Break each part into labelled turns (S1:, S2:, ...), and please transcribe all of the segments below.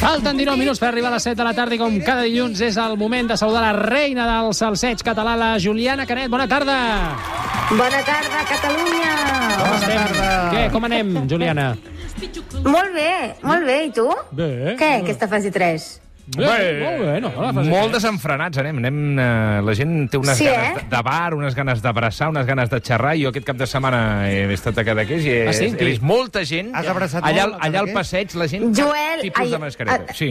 S1: Falten 19 minuts per arribar a les 7 de la tarda i com cada dilluns és el moment de saludar la reina del salseig català, la Juliana Canet. Bona tarda!
S2: Bona tarda, Catalunya!
S1: Bona tarda! Què, com anem, Juliana?
S2: Molt bé, molt bé, i tu?
S1: Bé.
S2: Què, aquesta fase 3?
S1: Bé, molt bé, no? La fase
S3: Molt desenfrenats anem. anem eh, la gent té unes
S2: Sí,
S3: ganes
S2: eh?
S3: de- de bar, unes ganes d'abraçar, unes ganes de xerrar. Jo aquest cap de setmana he estat a Cadaqués i he,
S1: Ah, sí?
S3: he vist molta gent.
S4: Has abraçat
S3: allà,
S4: molt
S3: allà
S4: a
S3: al
S4: Cadaqués?
S3: passeig, la gent...
S2: Joel,
S3: Tipus
S2: ai, ah,
S3: de mascareta.
S2: a-
S3: Sí.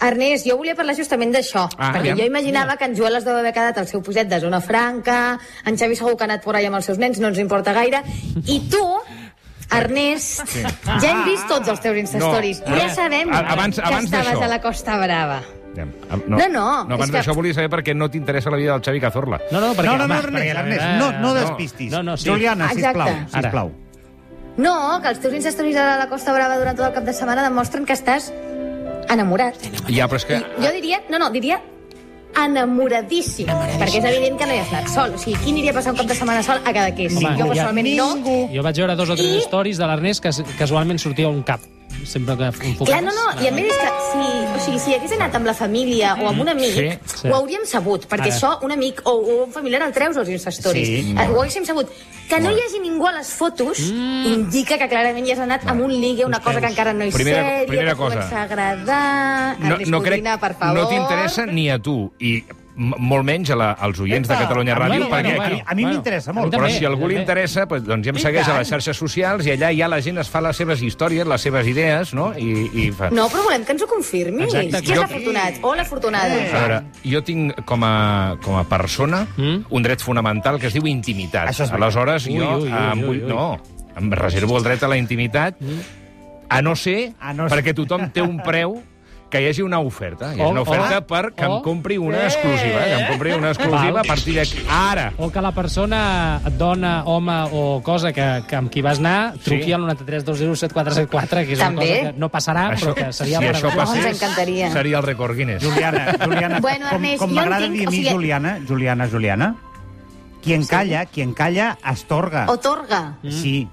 S2: Ernest, jo volia parlar justament d'això,
S3: Ah,
S2: perquè
S3: aviam.
S2: jo imaginava que en Joel es deu haver quedat al seu poset de zona franca, en Xavi segur que ha anat por allà amb els seus nens, no ens importa gaire, i tu, Ernest, sí. ja hem vist tots els teus Instastories,
S3: No,
S2: no, ja
S3: ara-
S2: sabem
S3: a- abans-
S2: que
S3: abans d'això.
S2: estaves a la Costa Brava.
S3: ah, No,
S2: No, no,
S3: no
S2: és
S3: abans
S2: que-
S3: d'això volia saber per què no t'interessa la vida del Xavi Cazorla.
S1: No, no, perquè,
S4: No, no, no,
S1: home,
S4: Ernest,
S1: perquè,
S4: Ernest,
S1: eh,
S4: no, no despistis.
S1: No, no, sí.
S4: Juliana, sisplau,
S2: Exacte.
S1: Ara.
S4: sisplau.
S2: No, que els teus Instastories a la Costa Brava durant tot el cap de setmana demostren que estàs enamorat.
S3: Ja, però és que...
S2: Jo diria, no, no, diria enamoradíssim, perquè és evident que no hi has anat sol. O sigui, qui aniria a passar un cap de setmana sol a Cadaqués? Sí,
S1: Home,
S2: jo
S1: ja-
S2: personalment no.
S1: Jo vaig veure dos o tres
S2: I-
S1: stories de l'Ernest que s- casualment sortia un cap. Sempre que enfocaves.
S2: Clar, no, no, i a més és que si, o sigui, si hagués anat amb la família o amb un amic,
S3: Sí,
S1: sí.
S2: ho hauríem sabut, perquè
S1: Ara.
S2: això un amic o, o un familiar el treus als Instastories.
S4: Sí.
S2: Eh, ho hauríem sabut. Que no hi hagi ningú a les fotos indica que clarament hi has anat amb un ligue, una cosa que encara no és
S3: Primera-
S2: sèria,
S3: primera
S2: que et
S3: cosa.
S2: comença a agradar, Ernest Codina, per favor.
S3: no t'interessa ni a tu, i m- molt menys a la, als oients de
S4: Epa!
S3: Catalunya Ràdio,
S4: bueno,
S3: perquè
S4: bueno,
S3: aquí...
S4: bueno. a mi m'interessa molt,
S3: Però si a algú li interessa, pues, doncs ja em
S4: I
S3: segueix a
S4: tant.
S3: les xarxes socials i allà ja la gent es fa les seves històries, les seves idees, no? I, i fa...
S2: No, però volem que ens ho confirmi.
S1: Exacte.
S2: Qui és
S3: Jo-
S2: l'afortunat? O l'afortunada?
S3: A veure, jo tinc com a, com a persona
S1: Mm.
S3: un dret fonamental que es diu intimitat.
S4: Això és veritat.
S3: Aleshores,
S1: Ui,
S3: jo
S1: ui, ui,
S3: em
S1: ui,
S3: vull...
S1: ui.
S3: No, em reservo el dret a la intimitat, a no ser,
S4: A no ser.
S3: perquè tothom té un preu que hi hagi una oferta. Hi
S1: O-
S3: hagi una oferta
S1: o-
S3: per que em
S1: o-
S3: compri una exclusiva. eh, Que em compri una exclusiva
S1: Val.
S3: a partir d'aquí. Ara!
S1: O que la persona, dona, home o cosa que, que amb qui vas anar, truqui
S3: Sí.
S1: al 93 20 7474, que és una
S2: També.
S1: cosa que no passarà, però que seria
S3: si això
S1: meravellós.
S2: passés-
S3: passés,
S2: No, ens encantaria.
S3: seria el record Guinness.
S4: Juliana, Juliana,
S2: Bueno,
S4: com,
S2: Ernest,
S4: com
S2: jo
S4: m'agrada
S2: entenc-
S4: dir a
S2: o
S4: mi,
S2: sigui-
S4: Juliana, Juliana, Juliana, qui en calla, qui en calla, estorga.
S2: Otorga.
S4: Sí.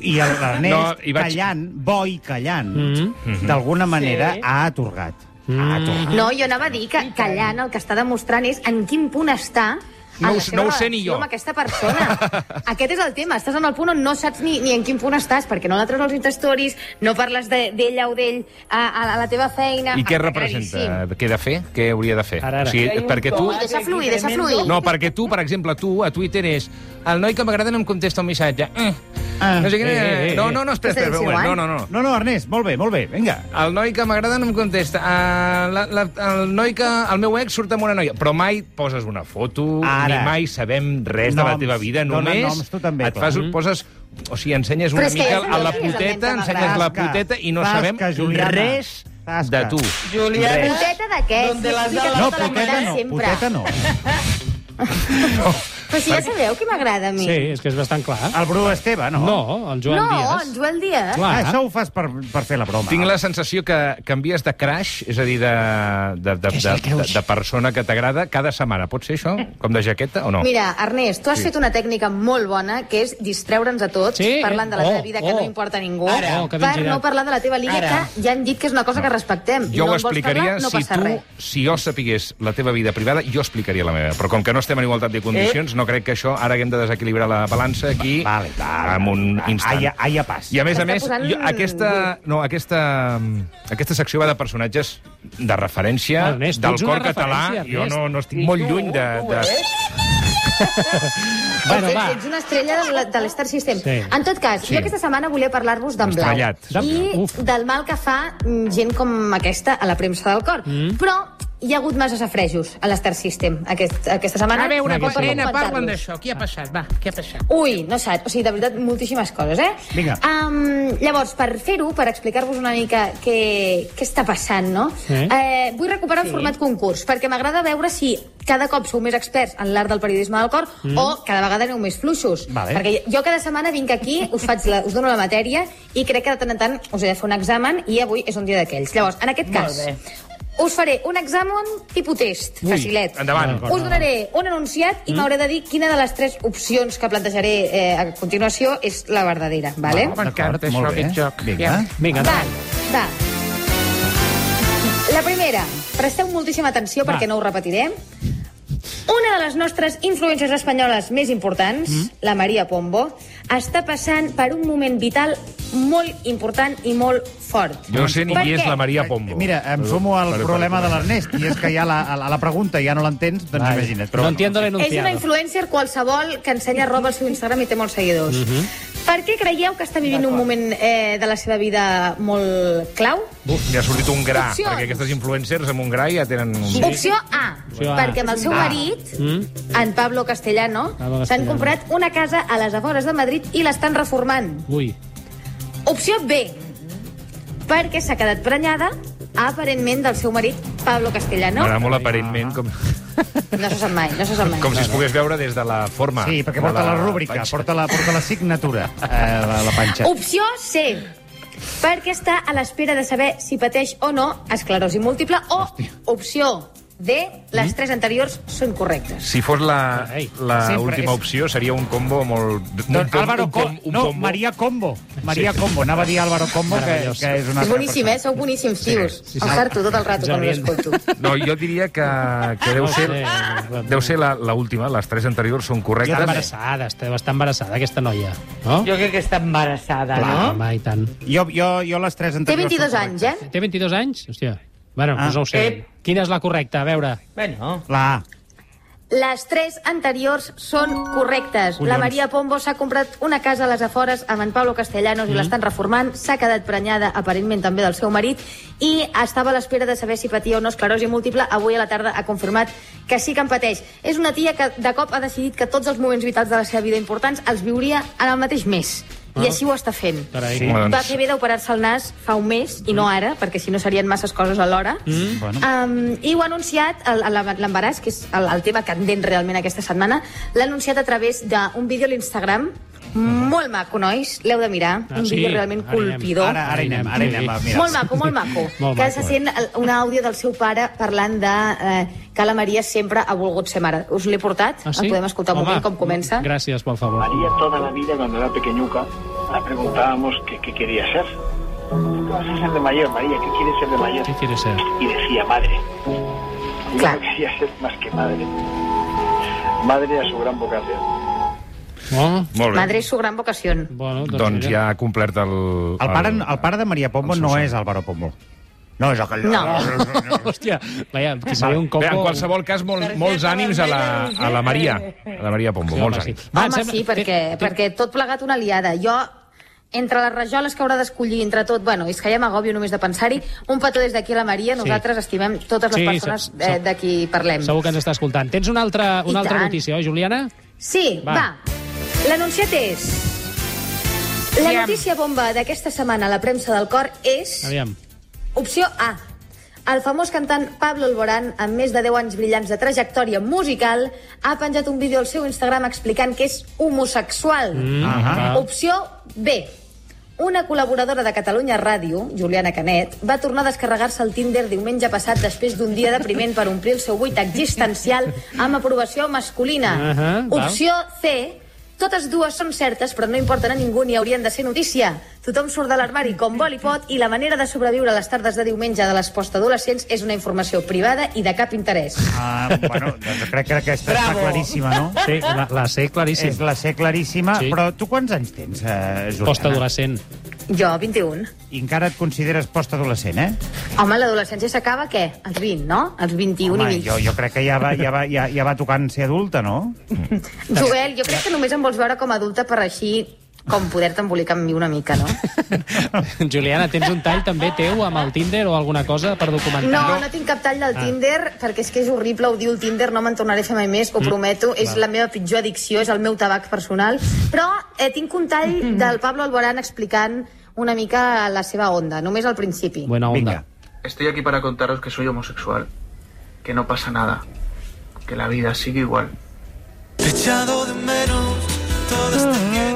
S4: I el- l'Ernest,
S3: No,
S4: no,
S3: i vaig-
S4: callant, bo i callant,
S1: Mhm.
S4: d'alguna manera ha atorgat. Ha atorgat.
S2: No, jo anava a dir que callant el que està demostrant és en quin punt està en
S3: No ho-
S2: la seva
S3: no ho sé ni
S2: relació
S3: jo.
S2: amb aquesta persona. Aquest és el tema. Estàs en el punt on no saps ni, ni en quin punt estàs, perquè no la treus als Instastories, no parles de- d'ella o d'ell a, a, a la teva feina...
S3: I què
S2: Està
S3: representa?
S2: claríssim.
S3: Què he de fer? Què hauria de fer?
S1: Ara, ara.
S3: O sigui, perquè tu...
S2: Ui, deixa fluir, deixa fluir.
S3: No, perquè tu, per exemple, tu a Twitter és el noi que m'agrada no em contesta un missatge. Eh.
S4: Ah.
S3: No sé què...
S1: Eh, eh, eh.
S3: No, no, no, espera,
S2: Què
S3: espera,
S2: estàs
S3: espera, un moment.
S2: insinuant?
S3: No, no, no.
S4: No, no, Ernest, molt bé, molt bé, vinga.
S3: El noi que m'agrada no em contesta. Uh, la, la, el noi que... El meu ex surt amb una noia. Però mai poses una foto,
S4: Ara.
S3: ni mai sabem res de la
S4: Noms.
S3: teva vida.
S4: Dona
S3: Només
S4: noms, tu Mm-hmm. també,
S3: et fas,
S4: clar.
S3: poses... O sigui, ensenyes
S2: Però
S3: una
S2: és que ja
S3: mica
S2: sabem
S3: a la
S2: qui és el nen que
S3: puteta, ensenyes
S2: m'agrada.
S3: la puteta i no
S4: Tasca,
S3: sabem
S4: Juliana.
S3: res
S4: Tasca.
S3: de tu.
S5: Juliana.
S3: Res.
S2: Puteta d'aquest.
S5: Donde las
S2: explica
S5: alas-
S4: No,
S2: tot el
S4: puteta
S2: model
S4: no,
S2: Tota sempre.
S4: puteta no.
S2: Però si ja sabeu qui m'agrada a mi.
S1: Sí, és que és bastant clar.
S4: El Bru Esteve, no?
S1: No, el Joan
S2: no,
S1: Díaz.
S2: en Joel Díaz.
S1: Clar.
S4: Ah, això ho fas per, per fer la broma.
S3: Tinc la sensació que canvies de crash, és a dir, de, de, de, de, de, de persona que t'agrada cada setmana. Pot ser això? Com de jaqueta o no?
S2: Mira, Ernest, tu has
S3: Oh. Sí.
S2: fet una tècnica molt bona, que és distreure'ns a tots,
S1: Sí,
S2: parlant de la
S1: eh?
S2: teva
S1: Oh,
S2: vida, que
S1: oh.
S2: no importa a ningú,
S1: Ara. Oh, que ben
S2: per
S1: girat.
S2: no parlar de la teva liga,
S5: Ara.
S2: que ja hem dit que és una cosa que respectem. no
S3: jo ho
S2: en vols
S3: explicaria
S2: parlar, no
S3: si
S2: passa
S3: tu,
S2: res.
S3: si jo sapigués la teva vida privada, jo explicaria la meva. Però com que no estem en igualtat
S1: Eh?
S3: de condicions, no crec que això, ara haguem de desequilibrar la balança aquí
S4: Vale, vale.
S3: en un instant.
S4: Ai, ai, a pas.
S3: I a més a
S2: S'està
S3: més,
S2: posant-
S3: jo, aquesta, no, aquesta, aquesta secció va de personatges de referència,
S1: No, Ernest, tu
S3: del
S1: ets una
S3: cor català.
S1: referència,
S3: Jo
S1: Ernest.
S3: no, no estic molt lluny de... de...
S1: Bueno,
S2: ets,
S1: va.
S2: ets una estrella de, la- de l'Star System.
S1: Sí.
S2: En tot cas,
S3: Sí.
S2: jo aquesta setmana volia parlar-vos d'en Blau.
S3: Estrellat.
S2: I
S1: Uf.
S2: del mal que fa mm, gent com aquesta a la premsa del cor. Mm. Però hi ha hagut massa safrejos a l'Star System aquest, aquesta setmana.
S5: A veure,
S2: No, per
S5: Cotorina,
S2: comentar-los.
S5: parla'n d'això. Què ha passat? Va, què ha passat?
S2: Ui, no saps, o sigui, de veritat, moltíssimes coses, eh?
S4: Vinga.
S2: Um, llavors, per fer-ho, per explicar-vos una mica què, què està passant, no?
S1: Sí.
S2: Eh, vull recuperar sí. el format concurs, perquè m'agrada veure si cada cop sou més experts en l'art del periodisme del cor mm. o cada vegada aneu més fluixos.
S4: Vale.
S2: Perquè jo cada setmana vinc aquí, us, faig la, us dono la matèria i crec que de tant en tant us he de fer un examen i avui és un dia d'aquells. Llavors, en aquest
S5: Molt
S2: cas,
S5: bé.
S2: us faré un examen tipus test,
S3: Ui,
S2: facilet.
S3: endavant.
S2: Us donaré un enunciat
S3: Mm.
S2: i m'hauré de dir quina de les tres opcions que plantejaré eh, a continuació és la verdadera, vale?
S5: M'encanta
S4: D'acord,
S5: això,
S4: molt bé.
S5: aquest joc.
S4: Vinga.
S1: Vinga,
S2: Va,
S1: endavant.
S2: va. La primera, presteu moltíssima atenció
S1: Va.
S2: perquè no ho repetiré. Una de les nostres influències espanyoles més importants,
S3: Mm.
S2: la Maria Pombo, està passant per un moment vital molt important i molt fort.
S3: Jo no sé ni
S2: Per
S3: qui és
S2: què?
S3: la Maria Pombo.
S4: Eh, Mira, em sumo al
S3: Però-
S4: problema
S3: però-
S4: de l'Ernest, i és que ja la, a la, a la pregunta ja no l'entens, doncs
S1: Vale.
S4: imagina't.
S1: No entiendo el
S2: És una
S1: enunciado.
S2: influencer qualsevol que ensenya roba al seu Instagram i té molts seguidors.
S1: Mhm.
S2: Per què creieu que està vivint un moment eh, de la seva vida molt clau?
S3: Uf, ja ha sortit un gra,
S2: Opcions.
S3: perquè aquestes influencers amb un gra ja tenen... Un...
S2: Opció A,
S1: Opció A. Mm.
S2: perquè amb el seu marit, en Pablo Castellano,
S1: Pablo
S2: s'han
S1: Castellano.
S2: comprat una casa a les afores de Madrid i l'estan reformant.
S1: Ui.
S2: Opció B, perquè s'ha quedat prenyada aparentment del seu marit, Pablo Castellano.
S3: M'agrada molt aparentment, com,
S2: No se sap mai, no se sap mai.
S3: com si es pogués veure des de la forma.
S4: Sí, perquè
S3: de
S4: porta la rúbrica,
S3: panxa.
S4: porta la, porta la signatura, eh, la, la
S3: Uh,
S4: panxa.
S2: Opció C, perquè està a l'espera de saber si pateix o no esclerosi múltiple. O opció D,
S1: Mm?
S2: les tres anteriors són correctes.
S3: Si fos la,
S1: Ei,
S3: la
S4: sempre
S3: última
S4: és-
S3: opció, seria un combo molt... un
S4: Doncs
S3: pom-
S4: Álvaro
S3: un pom-
S4: Com,
S3: un
S4: no,
S3: pombo.
S4: Maria Combo. Maria Combo, anava a dir Álvaro Combo, que,
S1: Meravellós.
S4: que és una
S2: És
S4: altra
S2: boníssim, eh?
S4: persona.
S2: Sou boníssims, tios.
S1: sí, sí.
S2: Em farto tot el rato quan
S1: Ens
S2: l'escolto.
S3: No, jo diria que, que
S4: Ah,
S3: deu
S1: No
S3: ser,
S1: sé,
S2: Ah!
S1: no,
S3: deu ser la- la última. Les tres anteriors són
S1: Està
S3: correctes.
S1: embarassada, està, està embarassada aquesta noia, no?
S5: Jo crec que està embarassada,
S1: Clar,
S5: no?
S1: home, i tant.
S4: Jo, jo, jo les tres
S2: eh? Té
S4: anteriors...
S2: 22
S4: són
S2: anys, eh?
S1: Té 22 anys? Hòstia. Bueno,
S4: Ah.
S1: doncs no ho sé.
S3: Eh.
S5: Ep.
S1: Quina és la correcta? A veure.
S5: Bueno,
S2: eh?
S4: correctes. La A.
S2: Les tres anteriors són correctes. La Maria Pombo s'ha comprat una casa a les afores amb en Pablo Castellanos i l'estan reformant. S'ha quedat prenyada, aparentment, també del seu marit i estava a l'espera de saber si patia o no esclerosi múltiple. Avui a la tarda ha confirmat que sí que en pateix. És una tia que de cop ha decidit que tots els moments vitals de la seva vida importants els viuria en el mateix mes. I així ho està fent.
S1: Carai.
S3: Sí. Bueno,
S2: Va
S3: doncs,
S2: fer bé d'operar-se el nas fa un mes, i no ara, perquè si no serien masses coses alhora. Mm.
S4: Bueno.
S2: Um, I ho ha anunciat, el- el- l'embaràs, que és el, el tema candent realment aquesta setmana, l'ha anunciat a través d'un vídeo a l'Instagram, molt maco, nois, l'heu de mirar,
S1: Ah,
S2: un
S1: sí,
S2: vídeo realment
S1: ara hi anem.
S2: colpidor.
S4: Ara, ara hi anem, ara hi anem. va, Mira.
S2: Molt maco, molt maco.
S1: Molt
S2: que
S1: maco,
S2: se sent el- un àudio del seu pare parlant de eh, que la Maria sempre ha volgut ser mare. Us l'he portat, el podem escoltar un
S1: Ah, Home,
S2: moment com comença.
S1: Gràcies, pel favor.
S6: María toda la vida cuando era pequeñuca la preguntábamos que qué quería ser. ¿Qué vas a ser de mayor, María? ¿Qué quieres ser de mayor?
S1: ¿Qué quieres ser?
S6: Y decía madre. Yo
S2: Claro.
S6: no quería ser más que madre. Madre a su gran vocación.
S1: Oh,
S3: molt bé.
S2: Madre és su gran vocació.
S1: bueno, doncs,
S3: Doncs
S1: mira.
S3: ja ha complert el...
S4: El pare, el pare de Maria Pombo
S3: el
S4: no
S3: Susan.
S4: és Álvaro Pombo. No és el que...
S2: No.
S1: Hòstia, vaja, que seria un
S3: Bé,
S1: combo...
S3: en qualsevol cas, molt, molts ànims a la, a la Maria. A la Maria Pombo,
S1: Home,
S3: molts
S1: sí.
S3: ànims.
S1: Va,
S2: Home,
S1: em sembla-
S2: sí, perquè,
S1: Té- té-
S2: perquè tot plegat una liada. Jo, entre les rajoles que haurà d'escollir, entre tot... Bueno, és que ja m'agòbio només de pensar-hi. Un petó des d'aquí a la Maria. Nosaltres estimem totes les
S1: Sí,
S2: persones
S1: se- se-
S2: eh, de qui parlem.
S1: Segur que ens està escoltant. Tens una altra,
S2: I
S1: una altra
S2: tant.
S1: notícia, oi, Juliana?
S2: Sí,
S1: Va.
S2: va. va. L'anunciat és... La notícia bomba d'aquesta setmana a la premsa del cor és...
S1: Aviam.
S2: Opció A. El famós cantant Pablo Alborán, amb més de 10 anys brillants de trajectòria musical, ha penjat un vídeo al seu Instagram explicant que és homosexual. Mm,
S4: Ah.
S1: ahà.
S2: Opció B. Una col·laboradora de Catalunya Ràdio, Juliana Canet, va tornar a descarregar-se el Tinder diumenge passat després d'un dia depriment per omplir el seu buit existencial amb aprovació masculina.
S4: Ah,
S1: Ahà, val.
S2: Opció C. Totes dues són certes, però no importen a ningú ni haurien de ser notícia. Tothom surt de l'armari com vol i pot i la manera de sobreviure a les tardes de diumenge de les postadolescents és una informació privada i de cap interès.
S4: Ah, bueno, doncs crec que aquesta està
S5: Bravo.
S4: claríssima, no?
S1: Sí, la, la sé
S4: És
S1: claríssim.
S4: la C claríssima,
S1: Sí.
S4: però tu quants anys tens, eh, Juliana?
S1: Postadolescent.
S2: Jo, 21.
S4: I encara et consideres postadolescent, eh?
S2: Home, l'adolescència s'acaba, què? Als 20, no? Als 21
S4: Home,
S2: i mig.
S4: jo, jo crec que ja va, ja, va, ja, ja va tocant ser adulta, no?
S2: Joel, jo crec que només em vols veure com a adulta per així com poder-te embolicar amb mi una mica, no?
S1: Juliana, tens un tall també teu amb el Tinder o alguna cosa per documentar?
S2: No, no tinc cap tall del
S3: Ah.
S2: Tinder, perquè és que és horrible odio el Tinder, no me'n tornaré a fer mai més,
S3: Mm.
S2: ho prometo, és la meva pitjor addicció, és el meu tabac personal, però eh, tinc un tall
S3: Mm.
S2: del Pablo Alborán explicant una mica la seva onda, només al principi.
S1: Buena onda.
S4: Vinga.
S7: Estoy aquí para contaros que soy homosexual, que no pasa nada, que la vida sigue igual.
S2: A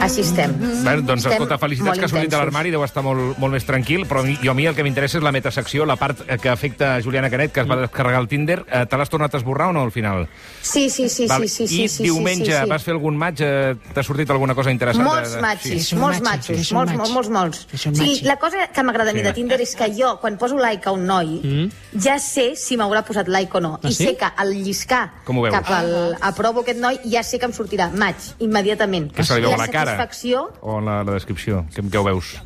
S2: Així estem.
S3: Bueno, doncs
S2: Mm, Estem
S3: escolta, felicitats
S2: molt
S3: que ha sortit de
S2: intensos.
S3: l'armari, deu estar molt, molt més tranquil, però a mi- jo a mi el que m'interessa és la metasecció, la part eh, que afecta a Juliana Canet, que es
S1: Mm.
S3: va descarregar el Tinder. Eh, Te l'has tornat a esborrar o no, al final?
S2: Sí, sí, sí,
S3: Val.
S2: sí, sí,
S3: I
S2: sí, sí,
S3: diumenge
S2: sí, sí.
S3: vas fer algun match? Eh, T'ha sortit alguna cosa interessant? de-
S2: Molts
S3: de-
S2: matxis,
S3: Sí.
S1: És un
S2: molts
S1: matxi,
S2: matxis,
S1: és un
S2: molts,
S1: matxi.
S2: molts, molts, molts.
S1: És un
S2: Sí,
S1: matxi.
S2: la cosa que m'agrada a mi
S3: Sí. Mm.
S2: de Tinder és que jo, quan poso like a un noi, ja sé si m'haurà posat like o no.
S1: Ah,
S2: I
S1: sí?
S2: sé que al lliscar
S3: Com ho veus?
S2: cap al aprovo aquest noi, ja sé que em sortirà match, immediatament.
S3: Que se li veu a la cara.
S2: satisfacció
S3: O en la, la descripció, que, que ho veus.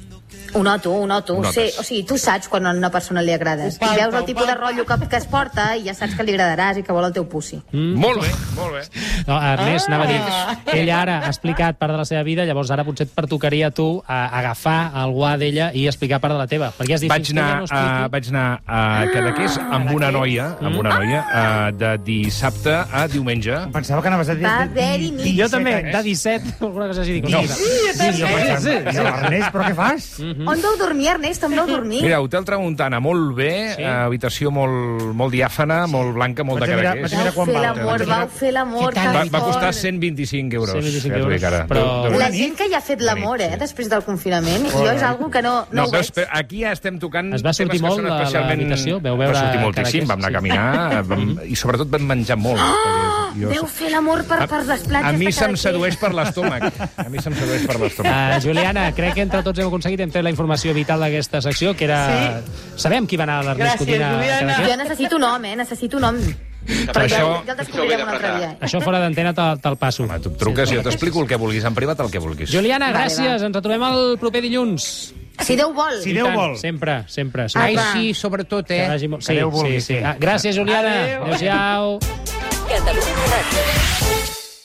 S2: ho noto, ho noto.
S3: Ho
S2: Ho sé,
S3: notes.
S2: o sigui, tu saps quan a una persona li agrades. I veus el tipus de rotllo que, que es porta i ja saps que li agradaràs i que vol el teu pussi.
S3: Mm. Molt bé, molt bé.
S1: No, Ernest, anava a
S2: Ah.
S1: dir, ella ara ha explicat part de la seva vida, llavors ara potser et pertocaria a tu a agafar algú d'ella i explicar part de la teva. Perquè has dit,
S3: Vaig
S1: fins que ella
S3: anar,
S1: no eh?
S3: a,
S1: expliqui-
S3: vaig anar a Cadaqués
S2: Ah,
S3: amb una noia, amb
S2: Mm.
S3: una noia, eh, de dissabte a diumenge.
S4: Pensava que anaves a dir...
S2: Va haver-hi mig.
S1: Jo també,
S4: anys.
S1: de 17, alguna cosa així. Dic,
S4: No.
S1: mira.
S4: Jo pensava, jo, Ernest, però què fas?
S2: On deu dormir, Ernest? On deu dormir?
S3: Mhm. Mira, Hotel Tramuntana, molt bé,
S1: Sí.
S3: sí. habitació molt, molt diàfana, molt blanca, molt
S4: Vaig a
S3: de
S4: mirar-
S3: Cadaqués.
S4: vaig a mirar
S2: Vau
S4: quan
S2: fer
S4: va.
S2: l'amor, vau fer l'amor. que
S3: Va, va
S2: fort.
S3: costar 125 euros.
S1: 125
S3: ja t'ho dic
S1: euros,
S3: ara.
S1: però-
S3: De- de-
S2: La
S4: nit.
S2: gent que ja ha fet l'amor, eh, després del confinament, jo és algo que no, no,
S3: No,
S2: ho
S3: però
S2: veig.
S3: espe- aquí ja estem tocant...
S1: Es va sortir
S3: temes que
S1: molt
S3: són
S1: de
S3: especialment-
S1: l'habitació? Vau veure
S3: Va sortir
S1: cada
S3: moltíssim,
S1: que-
S3: vam anar
S1: sí.
S3: a
S1: Mm-hmm.
S3: caminar vam... i sobretot vam menjar molt. Ah!
S2: Deu fer l'amor per, per les platges
S3: a mi
S2: de
S3: se'm
S2: Cadaqués.
S3: sedueix per l'estómac. A mi se'm sedueix per l'estómac.
S1: Uh, Juliana, crec que entre tots hem aconseguit, hem tret la informació vital d'aquesta secció, que era... Sabem qui va anar a l'Ernest
S5: Gràcies,
S1: Codina. a
S5: Juliana.
S1: Cadaqués.
S2: Jo necessito un home, eh? Necessito un home. Però ja,
S3: això-
S2: ja el descobrirem un altre dia.
S1: Això fora d'antena te'l te passo.
S3: Home, tu em truques i jo t'explico el que vulguis, en privat el que vulguis.
S1: Juliana,
S2: Vale, va.
S1: gràcies. Ens retrobem el proper dilluns.
S2: Si Déu vol.
S4: Si Déu
S1: Tant,
S4: vol.
S1: Sempre, sempre.
S5: Ai,
S1: sempre.
S2: va.
S5: sí, sobretot,
S1: Que
S5: Ah, eh?
S1: vagi molt-
S4: Que Déu
S1: sí,
S4: vulgui,
S1: sí.
S4: sí.
S1: Ah, gràcies, Juliana. Adéu-siau.
S8: Catalunya Ràdio.